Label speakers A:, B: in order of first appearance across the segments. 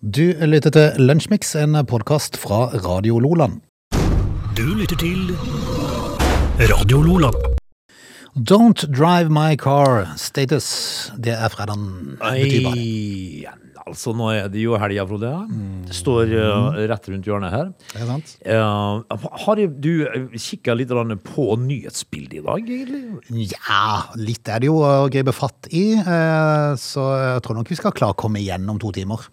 A: Du lytter til Lunsjmix, en podkast fra Radio Loland.
B: Du lytter til Radio Lola.
A: Don't drive my car. Status. Det er fredagen. betyr bare.
C: Nei, altså nå er det jo helga, Frode. Det står eh, rett rundt hjørnet her.
A: Det er sant?
C: Eh, har du kikka litt grann på nyhetsbildet i dag, egentlig?
A: Ja, litt er det jo å gripe fatt i. eh, Så jeg tror nok vi skal klare å komme igjen om to timer.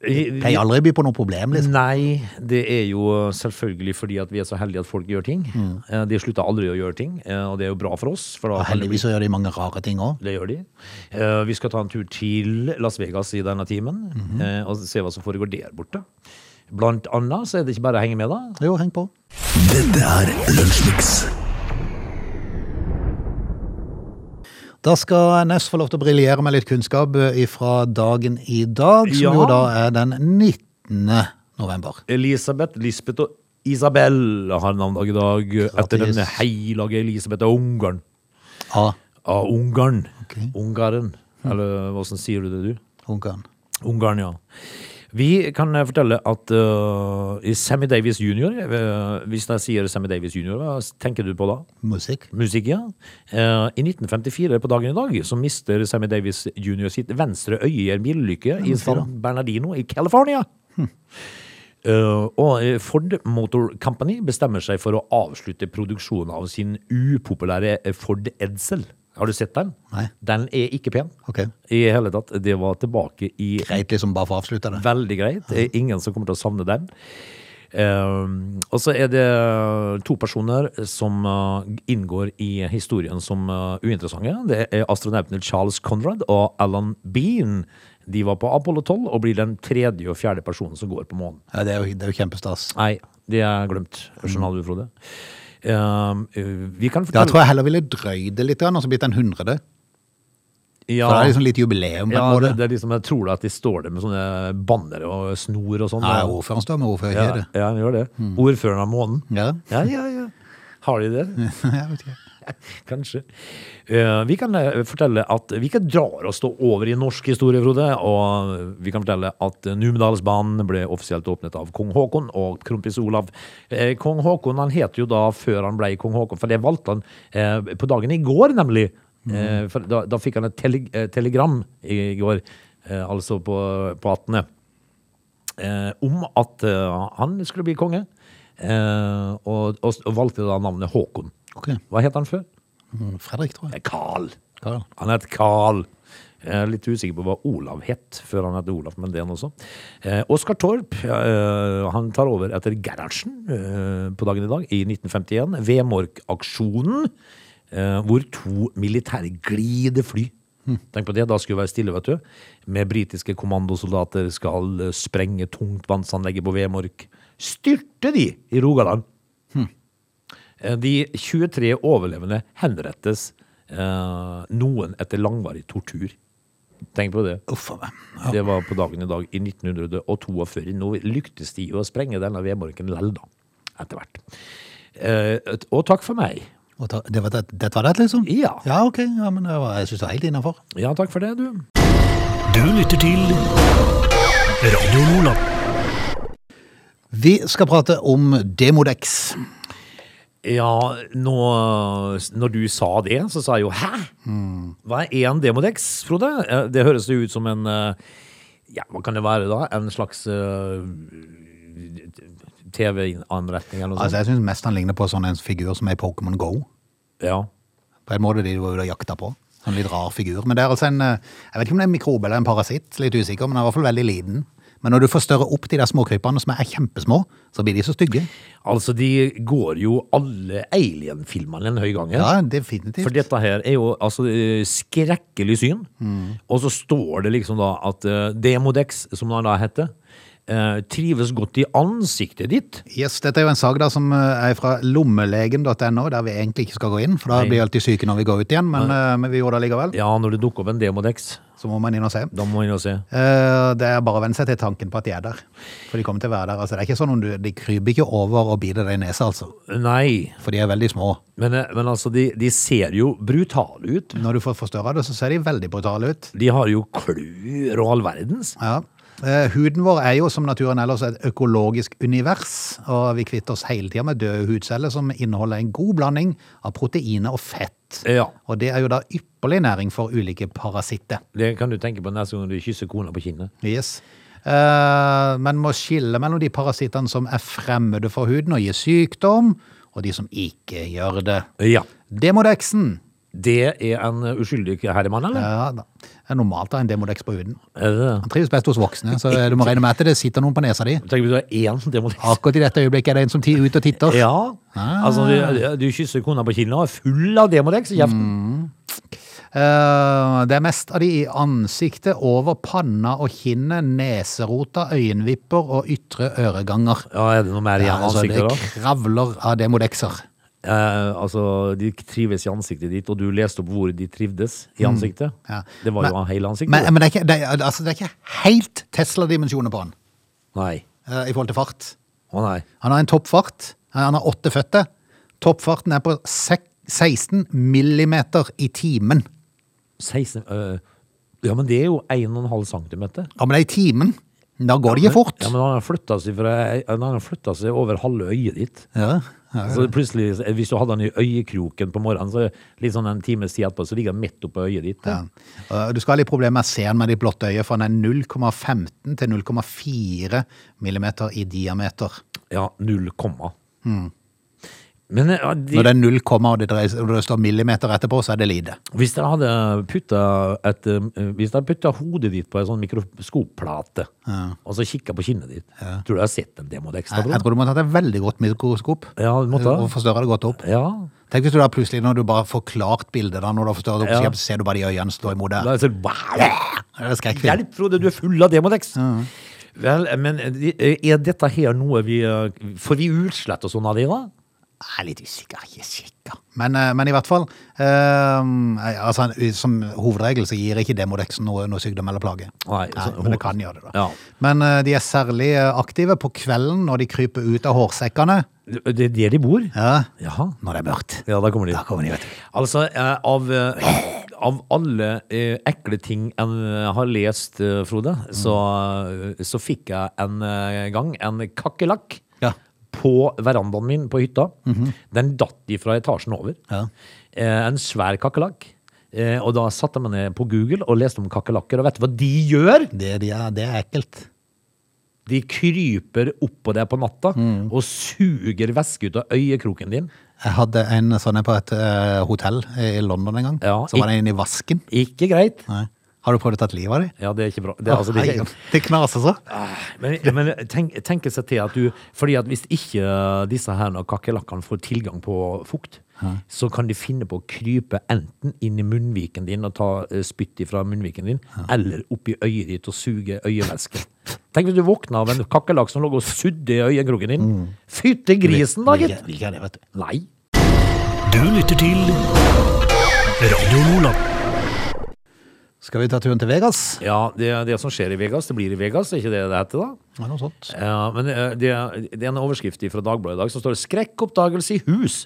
C: Eh,
A: Pleier aldri å by på noe problem, liksom.
C: Nei, det er jo eh, selvfølgelig fordi at vi er så heldige at folk gjør ting.
A: Mm.
C: Eh, De slutter aldri å gjøre ting, eh, og det er jo bra for oss. For
A: Og
C: da kan det bli-
A: heldigvis så gjør de mange rare ting òg.
C: Det gjør de. Eh, Vi skal ta en tur til Las Vegas i denne timen
A: Mhm.
C: eh, og se hva som foregår der borte. Blant annet så er det ikke bare å henge med, da.
A: Jo, heng på.
B: Dette er Lunsjmix.
A: Da skal Ness få lov til å briljere med litt kunnskap fra dagen i dag, som
C: Ja.
A: jo da er den 19. november.
C: Elisabeth, Lisbeth og Isabel har navndag i dag etter
A: Grattis.
C: den hellige Elisabeth av Ungarn.
A: Ja,
C: Av Ungarn.
A: Ok.
C: Ungaren. Eller hvordan sier du det, du?
A: Ungarn.
C: Ungarn, ja. Vi kan eh, fortelle at eh, i Sammy Davis jr. eh, hvis jeg sier Sammy Davis jr., hva tenker du på da?
A: Musikk.
C: Musikk, ja. Eh, I 1954 på dagen i dag så mister Sammy Davis jr. sitt venstre øye i en bilulykke i
A: si da. Hm.
C: San Bernardino i California. Eh, og eh, Ford Motor Company bestemmer seg for å avslutte produksjonen av sin upopulære eh, Ford Edsel. Har du sett den?
A: Nei.
C: Den er ikke pen
A: Ok.
C: i hele tatt. Det var tilbake i
A: Greit, liksom, bare for å avslutte det.
C: Veldig greit. Det er ingen som kommer til å savne den. Ehm, og så er det to personer som eh, inngår i historien som eh, uinteressante. Det er astronautene Charles Conrad og Alan Bean. De var på Apollo 12 og blir den tredje og fjerde personen som går på månen.
A: Ja, det, er jo, det er jo kjempestas.
C: Nei, det er glemt. Skjønner du, Frode? Ehm, eh, vi kan
A: Da
C: fortelle
A: tror jeg heller ville drøyd det litt, grann, og så blitt en hundrede.
C: Ja.
A: For det er liksom litt jubileum på en
C: Ja,
A: måte.
C: det, det er liksom, jeg tror da at de står der med sånne bannere og snor og sånn.
A: Nei,
C: Og-
A: ordføreren står med ordfører,
C: Ja,
A: ikke det? Mm.
C: ja, han gjør det. Ordføreren av månen.
A: Ja.
C: Ja, ja, ja. Har de det?
A: jeg vet ikke.
C: Kanskje. Eh, vi kan eh, fortelle at vi ikke drar oss da over i norsk historie, Frode. Og vi kan fortelle at Numedalsbanen ble offisielt åpnet av kong Haakon og kronprins Olav. Eh, kong Haakon han het jo da før han ble kong Haakon, for det valgte han eh, på dagen i går, nemlig. Eh, for da, da fikk han et tele, eh, telegram i går, eh, altså på, på 18 eh, om at eh, han skulle bli konge, eh, og, og, og valgte da navnet Håkon.
A: Ok.
C: Hva het han før?
A: Mm, Fredrik, tror jeg.
C: Eh, Karl.
A: Karl.
C: Han het Karl. Jeg er litt usikker på hva Olav het før han het Olav, men det er han også. Eh, Oskar Torp eh, han tar over etter Gerhardsen eh, på dagen i dag, i 1951. Vemork-aksjonen, eh, hvor to militære glidefly Tenk på det, da skulle det være stille, vet du. Med britiske kommandosoldater skal eh, sprenge tungtvannsanlegget på Vemork. Styrte de i Rogaland! Eh, De 23 overlevende henrettes, eh, noen etter langvarig tortur. Tenk på det.
A: Uff a meg.
C: Det var på dagen i dag i 1942. Nå lyktes de å sprenge denne vedmorken lell, da. Etter hvert. Eh, et- og takk for meg.
A: Og ta- Det var det, dette var det, liksom?
C: Ja.
A: Ja, ok. Ja, men det var, jeg synes det var helt innenfor.
C: Ja, takk for det, du.
B: Du lytter til Radio Lola.
A: Vi skal prate om Demodex.
C: Ja, nå, når du sa det, så sa jeg jo hæ? Hva er en demodex, Frode? Eh, Det høres jo ut som en eh, Ja, hva kan det være da? En slags eh, TV-anretning eller noe sånt?
A: Altså, jeg synes mest han ligner på sånn en figur som er i Pokémon Go.
C: Ja.
A: På en måte de var ute og jakta på. Sånn litt rar figur. Men det er altså en, eh, jeg vet ikke om det er en mikrobe eller en parasitt, litt usikker, men den er i hvert fall veldig liten. Men når du får større opp de der småkrypene som er kjempesmå, så blir de så stygge.
C: Altså, de går jo alle Alien-filmene en høy gang.
A: Ja, definitivt.
C: For dette her er jo altså eh, skrekkelig syn. Og så står det liksom da at eh, Demodex, som den da heter, eh, trives godt i ansiktet ditt.
A: Yes, dette er jo en sag da som eh, er fra lommelegen.no, der vi egentlig ikke skal gå inn, for da
C: Nei.
A: blir vi alltid syke når vi går ut igjen, men, eh, men vi gjorde det likevel.
C: Ja, når det dukker opp en Demodex,
A: Så må man inn og se.
C: da må man jo se.
A: Eh, Det er bare å venne seg til tanken på at de er der. For de kommer til å være der. Altså, det er ikke sånn om du, de kryper ikke over og biter deg i nesa, altså.
C: Nei,
A: For de er veldig små.
C: men, eh, men altså, de, de ser jo brutale ut.
A: Når du får forstørra det, så ser de veldig brutale ut.
C: De har jo klør og all verdens.
A: Ja. Eh, huden vår er jo som naturen ellers et økologisk univers, og vi kvitter oss hele tida med døde hudceller som inneholder en god blanding av proteiner og fett.
C: Eh, Ja.
A: Og det er jo da ypperlig næring for ulike parasitter.
C: Det kan du tenke på neste gang du kysser kona på kinnet.
A: Yes. Eh, man må skille mellom de parasittene som er fremmede for huden og gir sykdom, og de som ikke gjør det.
C: Eh, Ja.
A: Demodexen
C: Det er en uskyldig herremann, eller?
A: ja, da. Det er normalt å ha en demodex på huden.
C: Er det det?
A: Han trives best hos voksne, så du må regne med at det sitter noen på nesa di.
C: Tenk om du har én demodex.
A: Akkurat i dette øyeblikket er det en som titter ut og titter.
C: Ja.
A: Ah.
C: Altså, du, du kysser kona på kinnet og er full av demodex
A: Mm.
C: i kjeften.
A: Eh, det er mest av de i ansiktet, over panna og kinnet, neserota, øyenvipper og ytre øreganger.
C: Ja, er det noe mer igjen i
A: altså, det
C: ansiktet, da?
A: kravler av demodexer.
C: Eh, altså, de trives i ansiktet ditt, og du leste opp hvor de trivdes i ansiktet.
A: Mm. Ja.
C: Det var jo
A: Men-
C: hele ansiktet.
A: Men, men det, er ikke, det, er, altså, det er ikke helt Tesla-dimensjoner på han
C: Nei.
A: eh, i forhold til fart.
C: Å nei.
A: Han har en toppfart. Eh, Han har åtte føtter. Toppfarten er på sek 16 millimeter i timen.
C: 16 øh, Ja, men det er jo 1,5 cm.
A: Ja, men det er i timen. Da går det ikke fort.
C: Ja, men han har flytta seg, fra, han har flyttet seg over halve øyet ditt.
A: Ja, ja.
C: Så plutselig, Hvis du hadde han i øyekroken på morgenen, så litt sånn en times tid etterpå, så ligger han midt oppå øyet ditt.
A: Ja. Og Du skal ha litt problemer med å se den med ditt blotte øye, for den er 0,15 til 0,4 millimeter i diameter.
C: Ja, null komma.
A: Mm.
C: Men ja, de,
A: Når det er 0, og det, dreier, seg- når det står millimeter etterpå, så er det lite.
C: hvis dere hadde putta et, øh, Hvis dere putta hodet ditt på en sånn mikroskopplate, og så kikka på kinnet ditt, tror du jeg har sett en Demodex? da,
A: Jeg, jeg
C: bror?
A: tror du må ha tatt et veldig godt mikroskop
C: Ja, du måtte
A: og
C: det.
A: forstørre det godt opp.
C: Ja.
A: Tenk hvis du da plutselig, når du bare får klart bildet, da, når du har forstørret det opp,
C: Ja.
A: så ser du bare de øynene stå imot
C: Da
A: deg.
C: er det sånn, wow!
A: Det er skrekkfilm.
C: Hjelp, Frode, du er full av demodex. Vel, men eh, er dette her noe vi eh, Får vi utslett og sånn av det, da?
A: Jeg er litt usikker, ikke sikker. Men, eh, men i hvert fall, eh, altså, som hovedregel så gir ikke Demodex noe, noe sykdom eller plage.
C: Nei, så-
A: men det kan gjøre det da.
C: Ja.
A: Men eh, de er særlig eh, aktive på kvelden når de kryper ut av hårsekkene.
C: Det er der de bor?
A: Ja,
C: Jaha.
A: når det er mørkt.
C: Ja, da kommer de.
A: Da kommer de, vet du.
C: Altså, eh, av, eh, av alle eh, ekle ting en eh, har lest, eh, Frode, så, eh, så fikk jeg en eh, gang en kakerlakk.
A: Ja. Mhm.
C: På verandaen min på hytta. Den datt ifra etasjen over.
A: Ja.
C: Eh, en svær kakerlakk. Eh, og da satte jeg meg ned på Google og leste om kakerlakker, og vet du hva de gjør?
A: Det, de er, det er ekkelt.
C: De kryper oppå deg på natta
A: Mm.
C: og suger væske ut av øyekroken din.
A: Jeg hadde en sånn en på et eh, hotell i London en gang.
C: Ja,
A: så var den inne i vasken.
C: Ikke greit.
A: Nei. Har du prøvd å ta livet av dem?
C: Ja, det er ikke bra. Det, er altså, det er ikke,
A: det knaser så.
C: Ah, Men, men tenk, tenke seg til at du Fordi at hvis ikke disse her nå kakerlakkene får tilgang på fukt, så kan de finne på å krype enten inn i munnviken din og ta eh, spytt fra munnviken din, eller oppi øyet ditt og suge øyevæske. Tenk hvis du våkna av en kakerlakk som lå og sudde i øyekroken din. Fytte grisen, da, gitt!
A: Vil ikke ha det, vet du.
C: Nei.
B: Du lytter til Radio Lola.
A: Skal vi ta turen til Vegas?
C: Ja, det, det som skjer i Vegas, det blir i Vegas, er ikke det det heter, da?
A: Ja, noe sånt.
C: Ja, men eh, det, det er en overskrift fra Dagbladet i dag som står 'Skrekkoppdagelse i hus'.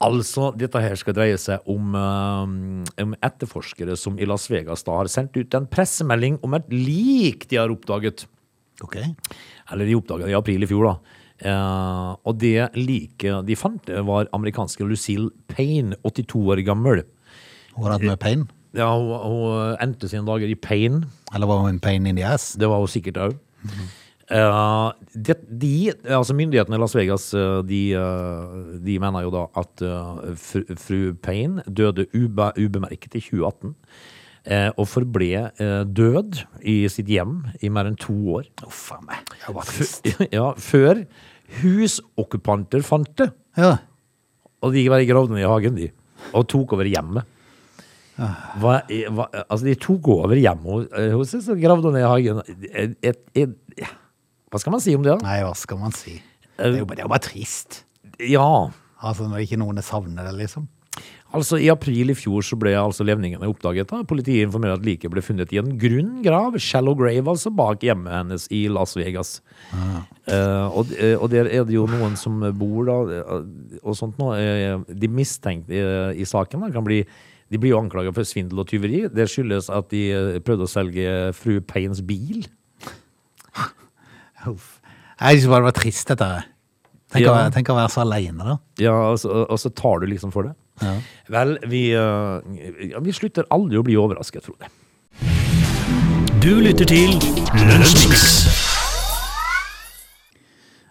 C: Altså, dette her skal dreie seg om, eh, om etterforskere som i Las Vegas da har sendt ut en pressemelding om et lik de har oppdaget.
A: Ok.
C: Eller de oppdaga det i april i fjor, da. Eh, og det liket de fant, eh, var amerikanske Lucille Payne, 82 år gammel.
A: Hun har hatt mye pain.
C: Ja, hun, hun endte sine dager i Payne.
A: Eller var hun pain in the ass?
C: Det var hun sikkert òg. de, altså myndighetene i Las Vegas eh, de, eh, de mener jo da at eh, fru, fru Payne døde ube, ubemerket i 2018. eh, og forble eh, død i sitt hjem i mer enn to år.
A: Uff a meg. Jeg var trist.
C: F ja, før husokkupanter fant det.
A: Ja.
C: Og de bare gravde ned i hagen, de. Og tok over hjemmet.
A: Ah.
C: Hva, hva, altså, de tok over hjemmet hos- hos oss og gravde ned i hagen. Et, et, et, hva skal man si om det, da?
A: Nei, hva skal man si? Det er jo bare, det er jo bare trist.
C: Ja.
A: Altså, når ikke noen savner det, liksom.
C: Altså, I april i fjor så ble altså levningene oppdaget. da. Politiet informerer at liket ble funnet i en grunn grav, shallow grave, altså bak hjemmet hennes i Las Vegas. Eh, og, eh, og der er det jo noen som bor da, eh, og sånt nå. eh, De mistenkte i, i eh, saken da, kan bli De blir jo anklaget for svindel og tyveri. Det skyldes at de eh, prøvde å selge fru Paynes bil.
A: Uff. Jeg synes bare det var trist, dette. her. Tenk, å,
C: Ja.
A: være- tenk å være så alene, da.
C: Ja, og så, og så tar du liksom for det.
A: Ja.
C: Vel, vi, eh, ja, vi slutter aldri å bli overrasket, Frode.
B: Du lytter til Lunsjmix.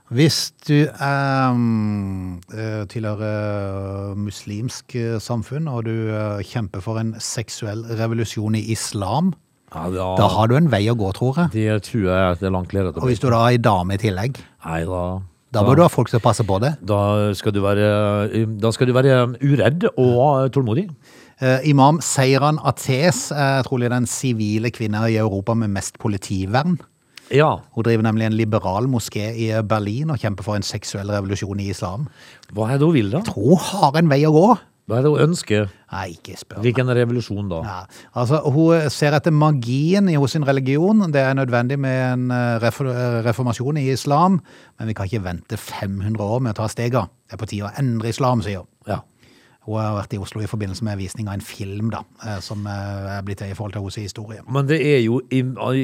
A: Hvis du ehm, eh, tilhører eh, muslimsk eh, samfunn, og du eh, kjemper for en seksuell revolusjon i islam,
C: Ja,
A: da har du en vei å gå, tror jeg.
C: Det tror jeg at det er langt lerret.
A: Og hvis du da har ei dame i tillegg,
C: Nei da.
A: da bør du ha folk som passer på det.
C: Da skal du være, um, da skal du være uredd og uh, tålmodig.
A: Eh, imam Seiran Ates er trolig den sivile kvinna i Europa med mest politivern.
C: Ja.
A: Hun driver nemlig en liberal moské i Berlin og kjemper for en seksuell revolusjon i islam.
C: Hva er det hun vil, da?
A: Hun har en vei å gå!
C: Hva er det hun ønsker?
A: Nei, ikke spør. meg.
C: Hvilken revolusjon, da?
A: Ja, altså Hun ser etter magien i hos sin religion. Det er nødvendig med en eh, refor- eh, reformasjon i islam, men vi kan ikke vente 500 år med å ta stega. Det er på tide å endre islam, sier hun.
C: Ja.
A: Hun har vært i Oslo i forbindelse med visning av en film da, eh, som eh, er blitt til i forhold til hennes historie.
C: Men det er jo i-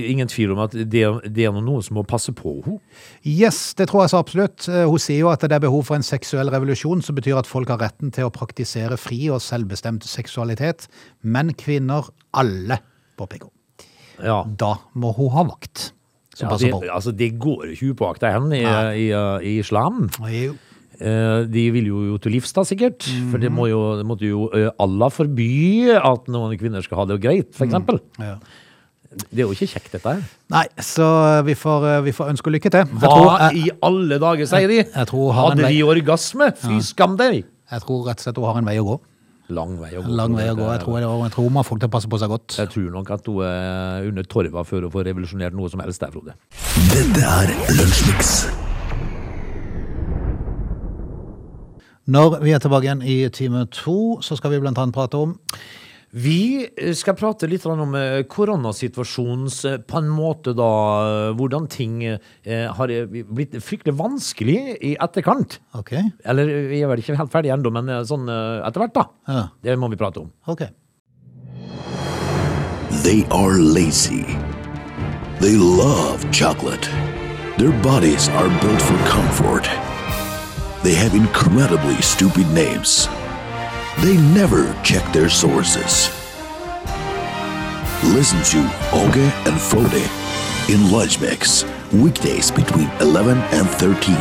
C: ingen tvil om at det, det er nå noen som må passe på henne.
A: Yes, det tror jeg så absolutt. Eh, Hun sier jo at det er behov for en seksuell revolusjon, som betyr at folk har retten til å praktisere fri og selvbestemt seksualitet. Men kvinner, alle, påpeker hun.
C: Ja.
A: Da må hun ha vakt som
C: Ja,
A: passer
C: det,
A: på.
C: altså, det går jo ikke upåaktet hen i,
A: Nei.
C: i, uh, i islam.
A: Jo.
C: Eh, De vil jo jo til livs, da, sikkert. For det, må jo, det måtte jo eh, Allah forby at noen kvinner skal ha det greit,
A: Mm.
C: for eksempel.
A: Ja.
C: Det er jo ikke kjekt, dette her.
A: Nei, så eh, vi får, vi får ønske lykke til. Jeg
C: Hva
A: tror, eh, jeg,
C: i alle dager, sier de?
A: jeg tror han-
C: Hadde de orgasme? Fy skam deg!
A: jeg tror rett og slett hun har en vei å gå.
C: Lang vei å gå.
A: En lang
C: tror
A: vei å gå. Jeg tror, jeg tror hun må ha folk til å passe på seg godt.
C: Jeg tror nok at hun er under torva før hun får revolusjonert noe som helst der, Frode.
A: Når vi er tilbake igjen i time to, så skal vi blant annet prate om
C: Vi eh, skal prate litt grann om eh, koronasituasjonens eh, på en måte da eh, Hvordan ting eh, har eh, blitt fryktelig vanskelig i etterkant.
A: Ok.
C: Eller eh, vi er vel ikke helt ferdige ennå, men eh, sånn eh, etter hvert, da.
A: Ja.
C: Det må vi prate om.
A: ok.
D: They are lazy. They love chocolate. Their bodies are built for comfort. They have incredibly stupid names. They never check their sources. Listen to Oge and Frode in Lunch Mix, weekdays between 11 and 13.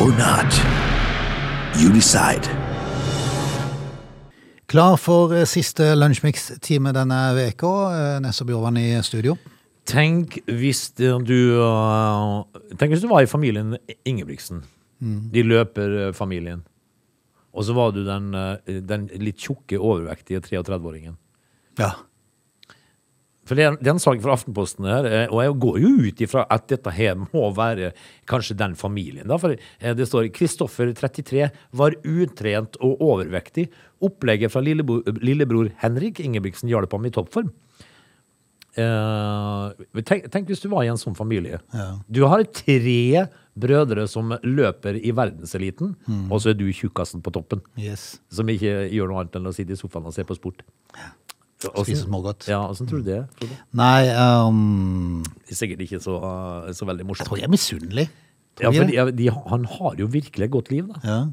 D: Or not. You decide.
A: Klar for eh, siste lunsjmix-time denne veka. Eh, Nesse Bjørvann i studio.
C: Tenk hvis det- du uh, Tenk hvis du var i familien Ingebrigtsen. De løper uh, familien. Og så var du den, uh, den litt tjukke, overvektige 33-åringen.
A: Ja.
C: For det er, det er en sak fra Aftenposten her, eh, og jeg går jo ut ifra at dette her må være kanskje den familien. Da, for eh, det står Kristoffer 33 var utrent og overvektig. Opplegget fra lillebo- lillebror Henrik Ingebrigtsen hjalp ham i toppform. Eh, tenk, tenk hvis du var i en sånn familie.
A: Ja.
C: Du har tre brødre som løper i verdenseliten,
A: Mm.
C: og så er du tjukkasen på toppen.
A: Yes.
C: Som ikke gjør noe annet enn å sitte i sofaen og se på sport.
A: Spise
C: Hvordan-
A: smågodt.
C: Ja, Åssen tror du det? er, Frode?
A: Nei, ehm,
C: Det er sikkert ikke så, uh, så
A: jeg
C: veldig
A: tror
C: morsomt.
A: jeg er misunnelig.
C: Ja,
A: Tror
C: for
A: jeg
C: de,
A: det?
C: de, han har jo virkelig et godt liv, da.
A: Ja.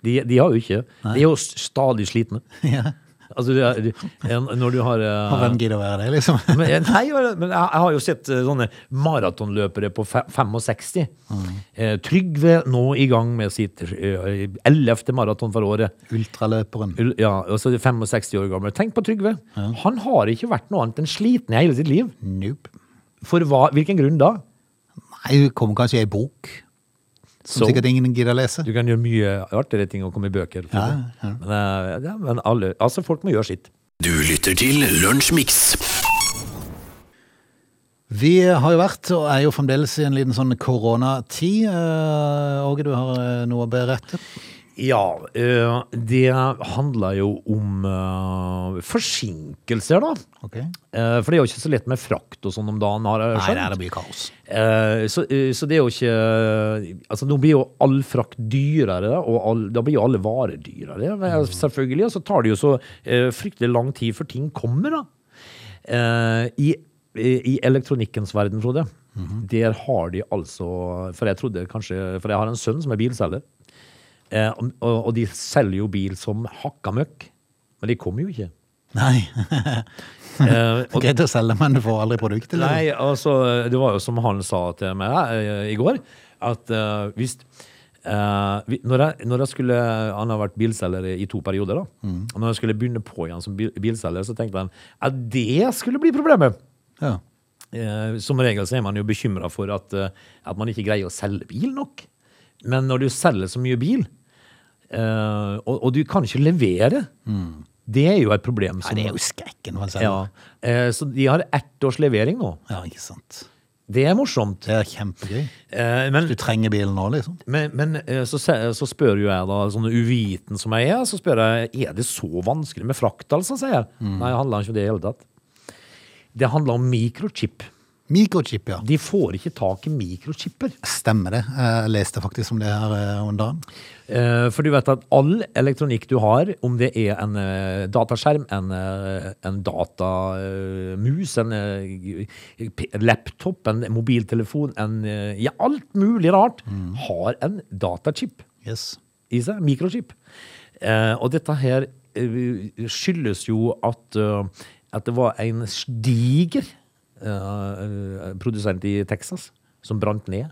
C: De, de har jo ikke De er jo s- stadig slitne.
A: ja.
C: Altså, det er- du- en- når du har uh,
A: Har hvem gidder å være det, liksom?
C: men, eh, Nei, men jeg, jeg har jo sett eh, sånne maratonløpere på fe- 65.
A: Mm.
C: Eh, Trygve nå i gang med sitt eh, ellevte maraton for året.
A: Ultraløperen.
C: Ul- Ja, og så er det 65 år gammel. Tenk på Trygve. Han har ikke vært noe annet enn sliten i hele sitt liv.
A: Nope.
C: For hva, hvilken grunn da?
A: Nei, det kommer kanskje i ei bok, som
C: So?
A: sikkert ingen gidder å lese.
C: Du kan gjøre mye artigere ting å komme i bøker. for
A: Ja,
C: det. Men, eh, ja, men alle, altså folk må gjøre sitt.
D: Du lytter til Lunsjmix.
A: Vi har jo vært, og er jo fremdeles i en liten sånn koronatid. Eh, Åge, du har eh, noe å berette?
C: Ja, eh, det handler jo om eh, forsinkelser, da.
A: Ok.
C: Eh, For det er jo ikke så lett med frakt og sånn om dagen, har jeg
A: Nei,
C: skjønt.
A: det er det mye kaos.
C: Eh, Så, eh, så det er jo ikke Altså Nå blir jo all frakt dyrere, da, og all, da blir jo alle varer dyrere, vel, selvfølgelig. Og så tar det jo så eh, fryktelig lang tid før ting kommer, da. Eh, I, i elektronikkens verden, Frode, der har de altså For jeg trodde kanskje For jeg har en sønn som er bilselger, eh, og, og og de selger jo bil som hakka møkk. Men de kommer jo ikke.
A: Nei.
C: Eh, og,
A: Greit å selge, men du får aldri produktet. liksom.
C: Nei, altså, det var jo som han sa til meg eh, i går, at eh, hvis eh, vi, når, jeg, når jeg skulle Han har vært bilselger i to perioder, da.
A: Mm.
C: Og når jeg skulle begynne på igjen som bil, bilselger, så tenkte han at det skulle bli problemet.
A: Ja.
C: Eh, som regel så er man jo bekymra for at, eh, at man ikke greier å selge bil nok. Men når du selger så mye bil, eh, og, og du kan ikke levere, det er jo et
A: Nei,
C: problem. Som,
A: Mm. det er jo skrekken å selge.
C: ja. Eh, Så de har ett års levering nå.
A: Ja, ikke sant.
C: Det er morsomt.
A: Det er kjempegøy.
C: Eh, men
A: Du trenger bilen nå, liksom.
C: men, men eh, så, se- så spør jo jeg da, sånn uviten som jeg er, så spør jeg er det så vanskelig med frakt, altså, sier jeg. Nei, det handler ikke om det i hele tatt. Det handler om mikrochip.
A: Mikrochip, ja.
C: De får ikke tak i mikrochipper.
A: Stemmer det. Jeg leste faktisk om det her eh, om dagen.
C: Eh, For du vet at all elektronikk du har, om det er en eh, dataskjerm, en, eh, en datamus, en eh, p- laptop, en mobiltelefon, en, eh, ja, alt mulig rart, har en datachip.
A: Yes.
C: i seg, mikrochip. Eh, og dette her eh, skyldes jo at, eh, at det var en diger eh, produsent i Texas som brant ned,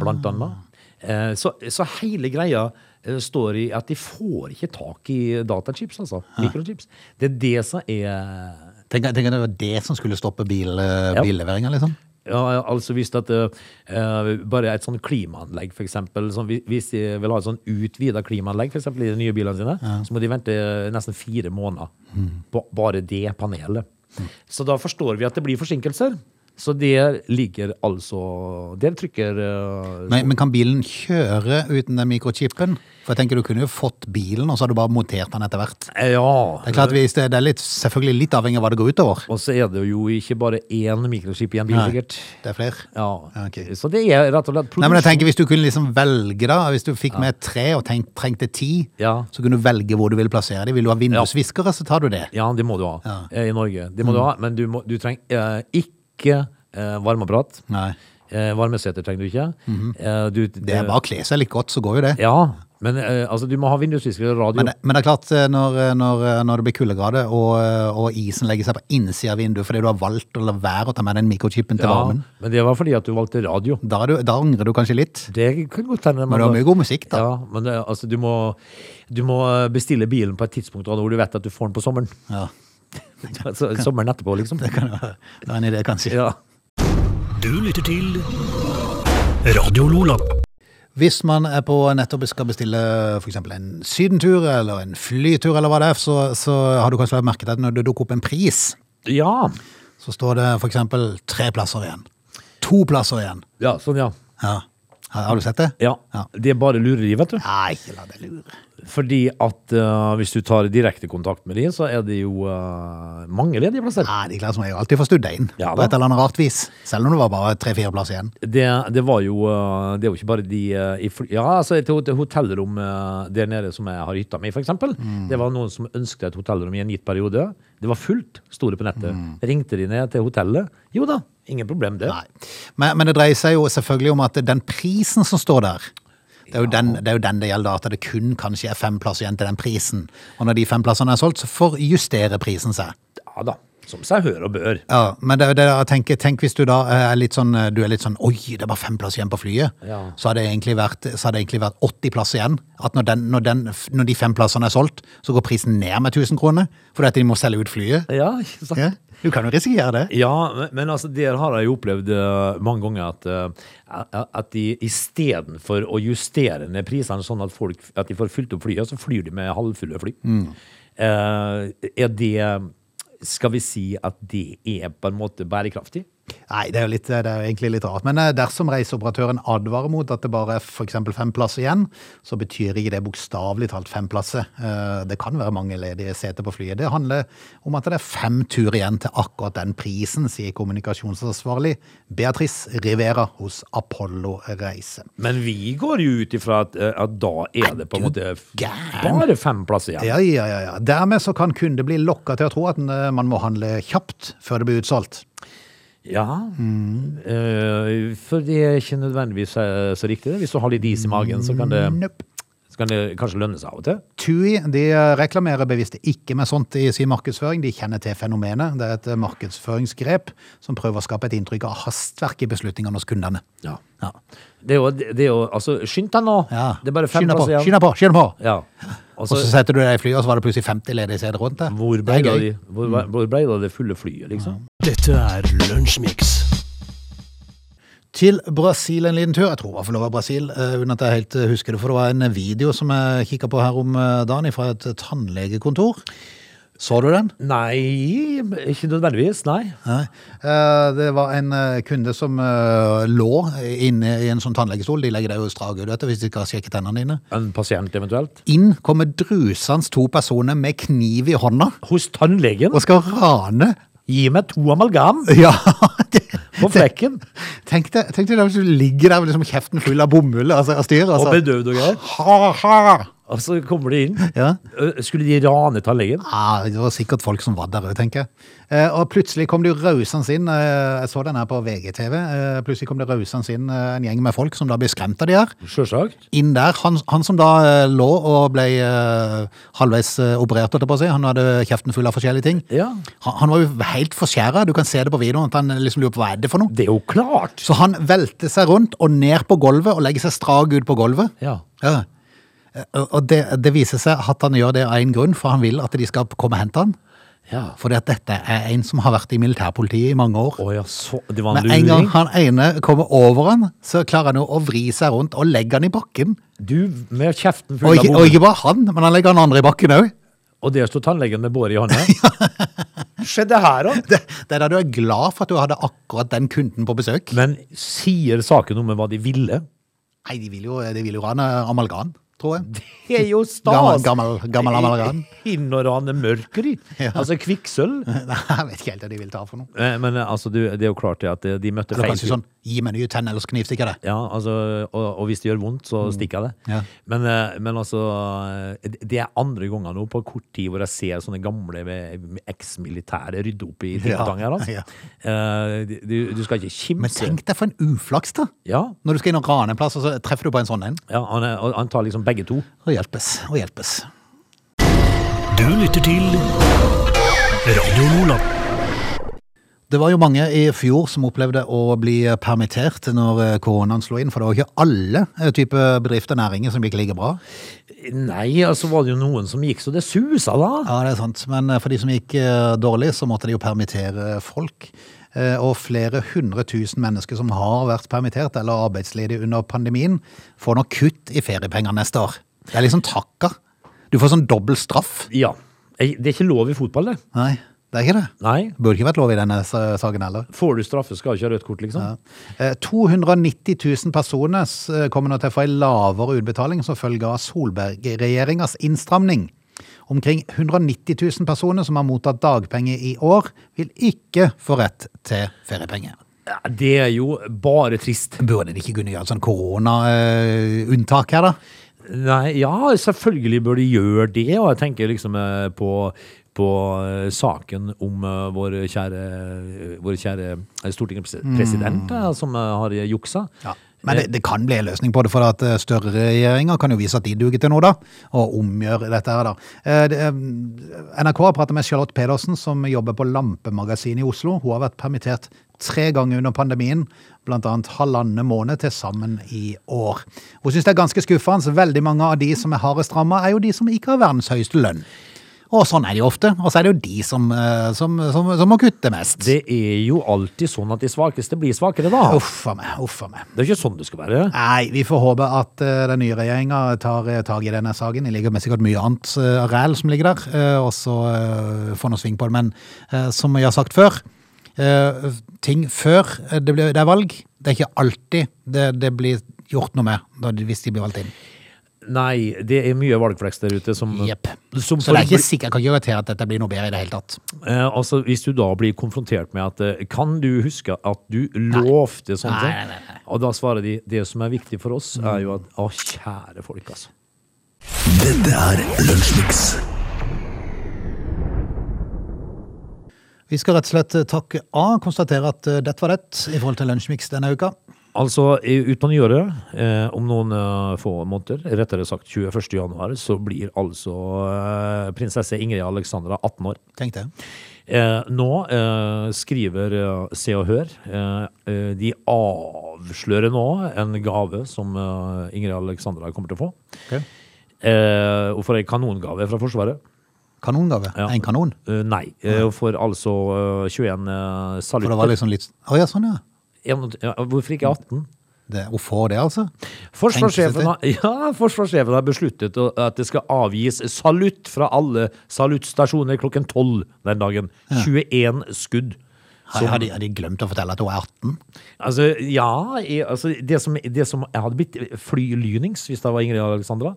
C: blant annet. Eh, så, så hele greia eh, står i at de får ikke tak i datachips, altså. Mikrochips. Det er det som er
A: Tenk, tenk at det var det som skulle stoppe bil, eh,
C: Ja.
A: billeveringa, liksom.
C: Ja, altså hvis at eh, eh, bare et sånn klimaanlegg for eksempel, som vi- hvis de vil ha et sånn utvidet klimaanlegg for eksempel i de nye bilene sine, så må de vente eh, nesten fire måneder på bare det panelet.
A: Mm.
C: Så da forstår vi at det blir forsinkelser. Så der ligger altså, der trykker eh,
A: Men, men kan bilen kjøre uten den mikrochipen? For jeg tenker du kunne jo fått bilen, og så har du bare montert den etter hvert.
C: eh, Ja.
A: Det er klart hvis det, det er litt, selvfølgelig litt avhengig av hva det går utover.
C: Og så er det jo ikke bare én mikroskip i en bil,
A: Nei.
C: sikkert.
A: Det er flere.
C: Ja.
A: Ja, ok.
C: Så det er rett og slett
A: Nei, men jeg
C: produksjon.
A: tenker Hvis du kunne liksom velge, da Hvis du fikk med tre og tenk, trengte ti,
C: Ja.
A: så kunne du velge hvor du ville plassere dem. Vil du ha vindusviskere, så tar du det.
C: Ja, det må du ha
A: Ja. Mm.
C: eh, i Norge. Det må du ha, men du, må, du trenger eh, ikke eh, varmeapparat.
A: Nei. Mhm.
C: Eh, varmeseter trenger du ikke. eh, du,
A: Det er bare å kle seg litt godt, så går jo det.
C: Ja, men eh, altså, du må ha vindusviskere og radio.
A: Men, det- men det er klart, eh, når, eh, når, eh, når det blir kuldegrader, og, eh, og isen legger seg på innsida av vinduet fordi du har valgt å la være å ta med den mikrochipen til
C: ja,
A: varmen,
C: men det var fordi at du valgte radio.
A: da, er du, da angrer du kanskje litt.
C: Det kan godt hende.
A: Men det var mye god musikk, da.
C: Ja, men det, altså, du må, du må eh, bestille bilen på et tidspunkt da, hvor du vet at du får den på sommeren.
A: Ja,
C: Så- sommeren etterpå, liksom.
A: det kan jo være det er en idé, kanskje.
C: Ja.
B: Du lytter til Radio Lola.
A: Hvis man er på nettopp skal bestille f.eks. en sydentur eller en flytur, eller hva det er, så, så har du kanskje merket at når det dukker opp en pris,
C: ja.
A: så står det f.eks. tre plasser igjen. To plasser igjen.
C: Ja, sånn, ja.
A: Ja. Har har du sett det?
C: Ja,
A: Ja.
C: Det er bare lureri, vet du.
A: Nei, ikke la deg lure.
C: Fordi at eh, hvis du tar direkte kontakt med dem, så er det jo eh, mange ledige plasser.
A: Nei, de klarer som jeg alltid får studda inn
C: Ja
A: på
C: da.
A: et eller annet rart vis. Selv om det var bare tre-fire plasser igjen.
C: Det, det var jo eh, Det er jo ikke bare de eh, i fly... Ja, altså et hot- hotellrom eh, der nede som jeg har hytta mi, f.eks.
A: Mm.
C: Det var noen som ønsket et hotellrom i en gitt periode. Det var fullt, sto det på nettet. Ringte de ned til hotellet. Jo da, ingen problem det.
A: Mm. Nei. Men, men det dreier seg jo selvfølgelig om at den prisen som står der, det er, jo den, det er jo den det gjelder, at det kun kanskje er fem plasser igjen til den prisen. Og når de fem plassene er solgt, så forjusterer prisen seg.
C: Ja da. Som seg hør og bør.
A: Ja, men det, er jo det jeg tenker, tenk hvis du da er litt sånn, du er litt sånn, oi, det er bare fem plasser igjen på flyet,
C: Ja.
A: så, har det egentlig vært, så har det egentlig vært 80 plasser igjen. At når, den, når, den, når de fem plassene er solgt, så går prisen ned med 1000 kroner, fordi at de må selge ut flyet.
C: Ja, ikke sant?
A: Ja, du kan jo risikere det.
C: Ja, men, men altså, der har jeg jo opplevd eh, mange ganger at, eh, at de istedenfor å justere ned prisene sånn at, folk, at de får fylt opp flyet, så flyr de med halvfulle fly.
A: Mm.
C: Eh, er det Skal vi si at det er på en måte bærekraftig?
A: Nei, det er, jo litt, det er jo egentlig litt rart. Men eh, dersom reiseoperatøren advarer mot at det bare er f.eks. fem plasser igjen, så betyr ikke det bokstavelig talt fem plasser. Eh, Det kan være mange ledige seter på flyet. Det handler om at det er fem turer igjen til akkurat den prisen, sier kommunikasjonsansvarlig Beatrice Rivera hos Apollo Reise.
C: Men vi går jo ut ifra at, eh, at da er det på en måte f-
A: gæren?
C: bare fem plasser igjen.
A: Ja, ja, ja. ja. Dermed så kan kunder bli lokka til å tro at eh, man må handle kjapt før det blir utsolgt.
C: Ja,
A: Mm.
C: eh, for det er ikke nødvendigvis eh, så riktig. det. Hvis du har litt is i magen, så kan det,
A: Nope.
C: så kan det kanskje lønne seg av og til.
A: TUI de reklamerer bevisst ikke med sånt i sin markedsføring. De kjenner til fenomenet. Det er et eh, markedsføringsgrep som prøver å skape et inntrykk av hastverk i beslutningene hos kundene. Ja.
C: Det er jo, det er jo altså, Skynd deg nå!
A: Ja.
C: Det er bare fem
A: Skynd deg på,
C: plasser igjen.
A: Skynd deg på! Skynd deg på!
C: Ja.
A: Og så
C: Altså,
A: setter du deg i flyet, og så var det plutselig 50 ledige steder rundt deg.
C: hvor
A: det
C: ble
A: er
C: da
A: gøy. Mm.
C: de- hvor ble- hvor ble da det fulle flyet, liksom?
B: Dette er Lunsjmix.
A: Til Brasil en liten tur. Jeg tror i hvert fall det var Brasil, eh, uten at jeg helt eh, husker det. For det var en video som jeg kikka på her om eh, dagen fra et eh, tannlegekontor. Så du den?
C: Nei, ikke nødvendigvis. Nei.
A: Nei. Eh, Det var en eh, kunde som eh, lå inne i en sånn tannlegestol. De legger deg jo strak ut vet du, hvis de skal sjekke tennene dine.
C: En pasient eventuelt.
A: Inn kommer drusans to personer med kniv i hånda
C: Hos tannlegen.
A: og skal rane.
C: Gi meg to amalgam
A: Ja, det,
C: på flekken.
A: tenk deg tenk deg da hvis du ligger der med liksom kjeften full av bomull altså, av styr.
C: Og
A: Altså.
C: bedøvd og greier.
A: Ha-ha!
C: Og så kommer de inn.
A: Ja.
C: Ø, Skulle de rane tannlegen?
A: Ja, Ah, det var sikkert folk som var der òg, tenker jeg. Eh, og plutselig kom det jo rausende inn, eh, jeg så den her på VGTV, eh, plutselig kom det rausende inn eh, en gjeng med folk som da ble skremt av de her.
C: Sjølsagt.
A: inn der. Han, han som da eh, lå og ble eh, halvveis eh, operert, holdt jeg på å si. han hadde kjeften full av forskjellige ting.
C: Ja.
A: Han, han var jo helt forskjæra, du kan se det på videoen. at han liksom lurer på hva er det for noe.
C: Det er jo klart!
A: Så han velter seg rundt og ned på gulvet og legger seg strak ut på gulvet.
C: Ja.
A: Ja. Eh, Og det, det viser seg at han gjør det av én grunn, for han vil at de skal komme og hente han.
C: Ja.
A: Fordi at dette er en som har vært i militærpolitiet i mange år.
C: Å ja, så Det var en
A: Med en gang
C: luring.
A: han ene kommer over han, så klarer han jo å vri seg rundt og legge han i bakken.
C: Du med
A: Og
C: kjeften full av
A: ikke, og
C: bomull,
A: ikke bare han, men han legger han andre i bakken òg.
C: og der står tannlegen med båret i hånda. Skjedde her òg?
A: Det, det er da du er glad for at du hadde akkurat den kunden på besøk.
C: Men sier saken noe med hva de ville?
A: Nei, de vil jo, de vil jo rane amalgam, tror jeg.
C: Det er jo
A: Gammel,
C: stas!
A: gammel, gammel amalgam.
C: Inn og rane mørker i. Altså kvikksølv.
A: Nei, jeg vet ikke helt hva de vil ta for noe.
C: Eh, Men eh, altså, du, det er jo klart det at eh, de møtte
A: Eller
C: feil
A: kanskje
C: fyr.
A: sånn gi meg nye tenner, ellers knivstikker jeg deg.
C: Ja, altså, og, og hvis det gjør vondt, så stikker jeg det.
A: Ja.
C: Men, eh, men altså eh, Det er andre ganger nå på kort tid hvor jeg ser sånne gamle med- med eks-militære rydde opp i ting
A: Ja,
C: og tang her. Altså.
A: ja.
C: Eh, du, du skal ikke
A: Men
C: kimse.
A: tenk deg for en uflaks, da.
C: Ja,
A: Når du skal inn og rane en plass, og så treffer du på en sånn en.
C: ja han, er- han tar liksom begge to.
A: Og hjelpes. Og hjelpes.
B: Du lytter til Radio Lola.
A: Det var jo mange i fjor som opplevde å bli eh, permittert når eh, koronaen slo inn, for det var jo ikke alle eh, typer bedrifter og næringer som gikk like bra.
C: Nei, altså var det jo noen som gikk så det susa, da.
A: Ja, det er sant. Men eh, for de som gikk eh, dårlig, så måtte de jo permittere folk. Eh, Og flere hundre tusen mennesker som har vært permittert eller arbeidsledige under pandemien, får nå kutt i feriepenger neste år. Det er liksom takka. Du får sånn dobbel straff.
C: Ja. Eh, Det er ikke lov i fotball, det.
A: Nei, det er ikke det.
C: Nei.
A: Det burde ikke vært lov i denne sa- saken heller.
C: Får du straffe, skal du ikke ha rødt kort, liksom.
A: Ja. Eh, 290 000 personer s- eh, kommer nå til å få en lavere utbetaling som følge av Solberg-regjeringas innstramning. Omkring 190 000 personer som har mottatt dagpenger i år, vil ikke få rett til feriepenger.
C: Ja, Det er jo bare trist.
A: Burde de ikke kunne gjøre et sånn koronaunntak her, da?
C: Nei, ja, selvfølgelig bør de gjøre det. Og jeg tenker liksom eh, på, på eh, saken om eh, vår kjære, eh, vår kjære eh, stortingspresident eh, som eh, har juksa.
A: Men det, det kan bli en løsning på det, for at eh, større regjeringer kan jo vise at de duger til noe, da. Og omgjøre dette her, da. Eh, det, eh, NRK har pratet med Charlotte Pedersen, som jobber på Lampemagasinet i Oslo. Hun har vært permittert tre ganger under pandemien, blant annet halvannen måned til sammen i år. Hun syns det er ganske skuffende. Veldig mange av de som er hardest ramma, er jo de som ikke har verdens høyeste lønn. Og sånn er de ofte. Og så er det jo de som, eh, som, som, som må kutte mest.
C: Det er jo alltid sånn at de svakeste blir svakere, da.
A: Uff a meg, uff a meg.
C: Det er ikke sånn det skal være.
A: Nei, vi får håpe at eh, den nye regjeringa tar eh, tak i denne saken. Det ligger med sikkert mye annet eh, ræl som ligger der, eh, og så eh, får noe sving på det. Men eh, som jeg har sagt før, eh, ting før eh, det, blir, det er valg. Det er ikke alltid det, det blir gjort noe med da, de- hvis de blir valgt inn.
C: Nei, det er mye valgflex der ute som,
A: Jepp.
C: som
A: Så det er
C: forblir-
A: ikke sikkert jeg kan garantere at dette blir noe bedre i det hele tatt.
C: Eh, altså, hvis du da blir konfrontert med at eh, Kan du huske at du lovte sånne
A: Nei,
C: ting?
A: nei, nei, nei. Mm.
C: Og da svarer de det som er viktig for oss, er jo at Å, kjære folk, altså.
D: Dette er Lunsjmix.
A: Vi skal rett og slett eh, takke A, konstatere at eh, dette var det i forhold til Lunsjmix denne uka.
C: Altså, i- ut på nyåret, eh, om noen eh, få måneder, rettere sagt 21. januar, så blir altså eh, prinsesse Ingrid Alexandra 18 år.
A: Tenk det.
C: Eh, nå eh, skriver eh, Se og Hør eh, eh, De avslører nå en gave som eh, Ingrid Alexandra kommer til å få.
A: Ok.
C: Eh, og for ei kanongave fra Forsvaret.
A: Kanongave.
C: Ja.
A: En kanon.
C: Eh, nei. Eh, og for altså eh, 21 eh,
A: For det var
C: salutter.
A: liksom litt Å ja, sånn, ja.
C: En- ja, hvorfor ikke 18?
A: Det, hun får det, altså?
C: Forsvarssjefen
A: Enkelte.
C: har, ja, forsvarssjefen har besluttet å- at det skal avgis salutt fra alle saluttstasjoner klokken 12 den dagen. 21 skudd.
A: Har, har, de, har de glemt å fortelle at hun er 18?
C: Altså, ja jeg, altså, det, som, det som jeg hadde blitt flylynings hvis det var Ingrid Alexandra.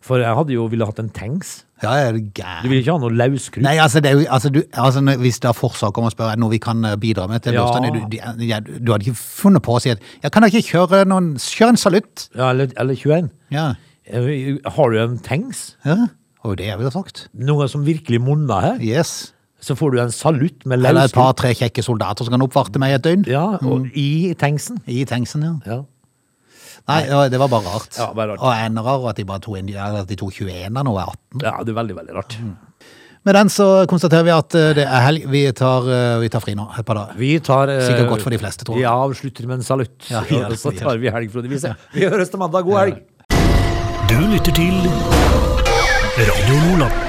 C: For jeg hadde jo ville hatt en tanks.
A: Ja, er du
C: Du
A: gæren?
C: ville ikke ha noe løskrutt.
A: Nei, altså, det er jo, altså, du, altså når- Hvis det er forsøk om å spørre er det noe vi kan eh, bidra med til
C: Ja.
A: bursdagen du, du, ja, du hadde ikke funnet på å si at jeg kan da ikke kjøre noen Kjør en salutt!
C: Ja, eller, eller 21.
A: Ja.
C: Eh, Har du en tanks?
A: ja. Og det jeg ville sagt.
C: Noe som virkelig monner her?
A: Yes.
C: Så får du en salutt med
A: Eller et Mm.
C: løskrutt.
A: par-tre kjekke soldater som kan oppvarte meg i et døgn.
C: Ja, og i tanksen.
A: I tanksen, ja.
C: Ja.
A: Nei, ja, det var bare rart.
C: Ja, bare rart.
A: Og enda rart at de bare tok inn, eller at de tok 21 nå er 18.
C: ja, det er veldig, veldig rart.
A: Mm. Med den så konstaterer vi at eh, det er helg. Vi tar, eh, vi tar fri nå et par dager.
C: Vi tar eh,
A: Sikkert godt for de fleste, tror jeg.
C: Vi avslutter med en salutt.
A: Ja, vi gjør det.
C: så tar vi helg, Frode. Vi, ses. vi høres til mandag. God helg!
B: Du lytter til Radio Nordland.